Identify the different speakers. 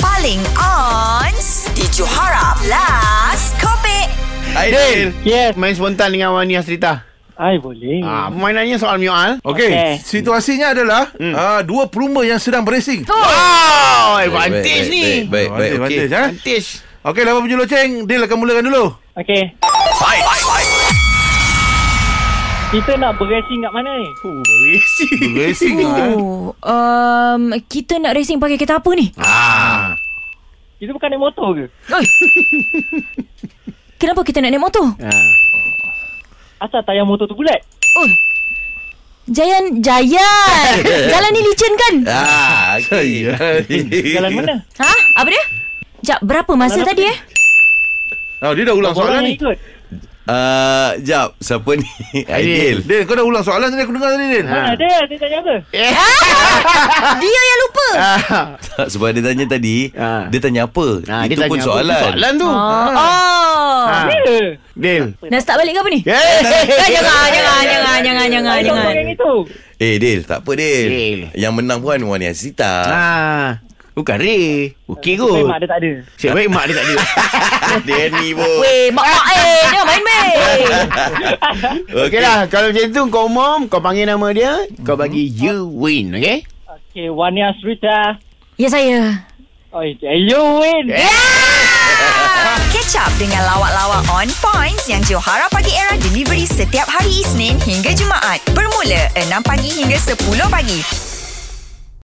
Speaker 1: paling on di Johara Plus Kopi.
Speaker 2: Aidil
Speaker 3: Yes.
Speaker 2: Main spontan dengan Wani Hasrita
Speaker 3: Ai
Speaker 4: Hmm.
Speaker 3: boleh.
Speaker 2: ah, Mainannya soal Mioal
Speaker 5: Okey,
Speaker 3: Okey.
Speaker 5: okay. situasinya adalah hmm. uh, dua perumba yang sedang beracing.
Speaker 2: Wow
Speaker 4: Oh.
Speaker 2: eh,
Speaker 4: Baik,
Speaker 2: Advantage
Speaker 4: baik,
Speaker 2: ni Eh,
Speaker 4: Baik, baik, baik.
Speaker 5: Advantage,
Speaker 4: Okey.
Speaker 5: ha?
Speaker 2: Advantage
Speaker 5: Okey, lawan penjulu ceng, Dil akan mulakan dulu.
Speaker 3: Okey. Kita nak beracing kat mana ni?
Speaker 2: Oh, berisi
Speaker 5: Beracing ha?
Speaker 6: Oh, um, kita nak racing pakai kereta apa ni?
Speaker 2: Ah.
Speaker 4: Ah.
Speaker 3: Kita bukan naik motor ke?
Speaker 6: Oi. Kenapa kita nak naik motor?
Speaker 2: ah.
Speaker 3: Asal tayar motor tu bulat?
Speaker 6: Oi. Jayan, Jayan. Jalan ni licin kan?
Speaker 4: Ah, okey. Eh,
Speaker 3: Jalan mana?
Speaker 6: Ha? Apa dia? Jap, berapa masa
Speaker 3: Jalan
Speaker 6: tadi eh?
Speaker 5: Oh, dia dah ulang soalan
Speaker 3: Orang
Speaker 5: ni.
Speaker 3: yang ikut.
Speaker 4: Ah, jap, siapa ni? Aidil.
Speaker 5: Dil, kau dah ulang soalan tadi aku dengar tadi, Dil.
Speaker 3: Ha, dia, dia tanya apa?
Speaker 4: Ah.
Speaker 6: Dia yang lupa.
Speaker 2: Ah.
Speaker 4: Tak, Sebab dia tanya tadi,
Speaker 2: Ah.
Speaker 4: dia tanya apa?
Speaker 2: Ah,
Speaker 4: Itu
Speaker 2: dia
Speaker 4: pun
Speaker 2: tanya apa
Speaker 4: soalan.
Speaker 2: Soalan tu
Speaker 6: Oh. oh.
Speaker 2: Ah.
Speaker 3: Ya.
Speaker 2: Dil
Speaker 6: Nak start balik ke apa ni?
Speaker 2: Eh,
Speaker 6: Eh,
Speaker 4: lah,
Speaker 6: jangan, jangan, jangan, jangan, jangan,
Speaker 3: Ayah
Speaker 6: jangan.
Speaker 3: orang yang itu.
Speaker 4: Eh, Dil, tak apa, Dil.
Speaker 2: Dil.
Speaker 4: Yang menang pun Wani Asita.
Speaker 2: Ah, Bukan Ray Okey
Speaker 3: Saya
Speaker 2: kot
Speaker 3: mak dia tak ada.
Speaker 2: Siap baik mak dia tak ada
Speaker 4: Dia ni pun.
Speaker 6: Weh, mak-mak eh. Jangan main main.
Speaker 2: Okey lah Kalau macam tu kau mom Kau panggil nama dia Kau bagi
Speaker 4: Hmm.
Speaker 2: you win Okey
Speaker 3: Okey, Wania Srita.
Speaker 6: Ya, saya.
Speaker 3: Oh, you win.
Speaker 2: Eh,
Speaker 4: Ya!
Speaker 1: Ah, Catch up dengan lawak-lawak on points yang Johara Pagi Era delivery setiap hari Isnin hingga Jumaat bermula 6 pagi hingga 10 pagi.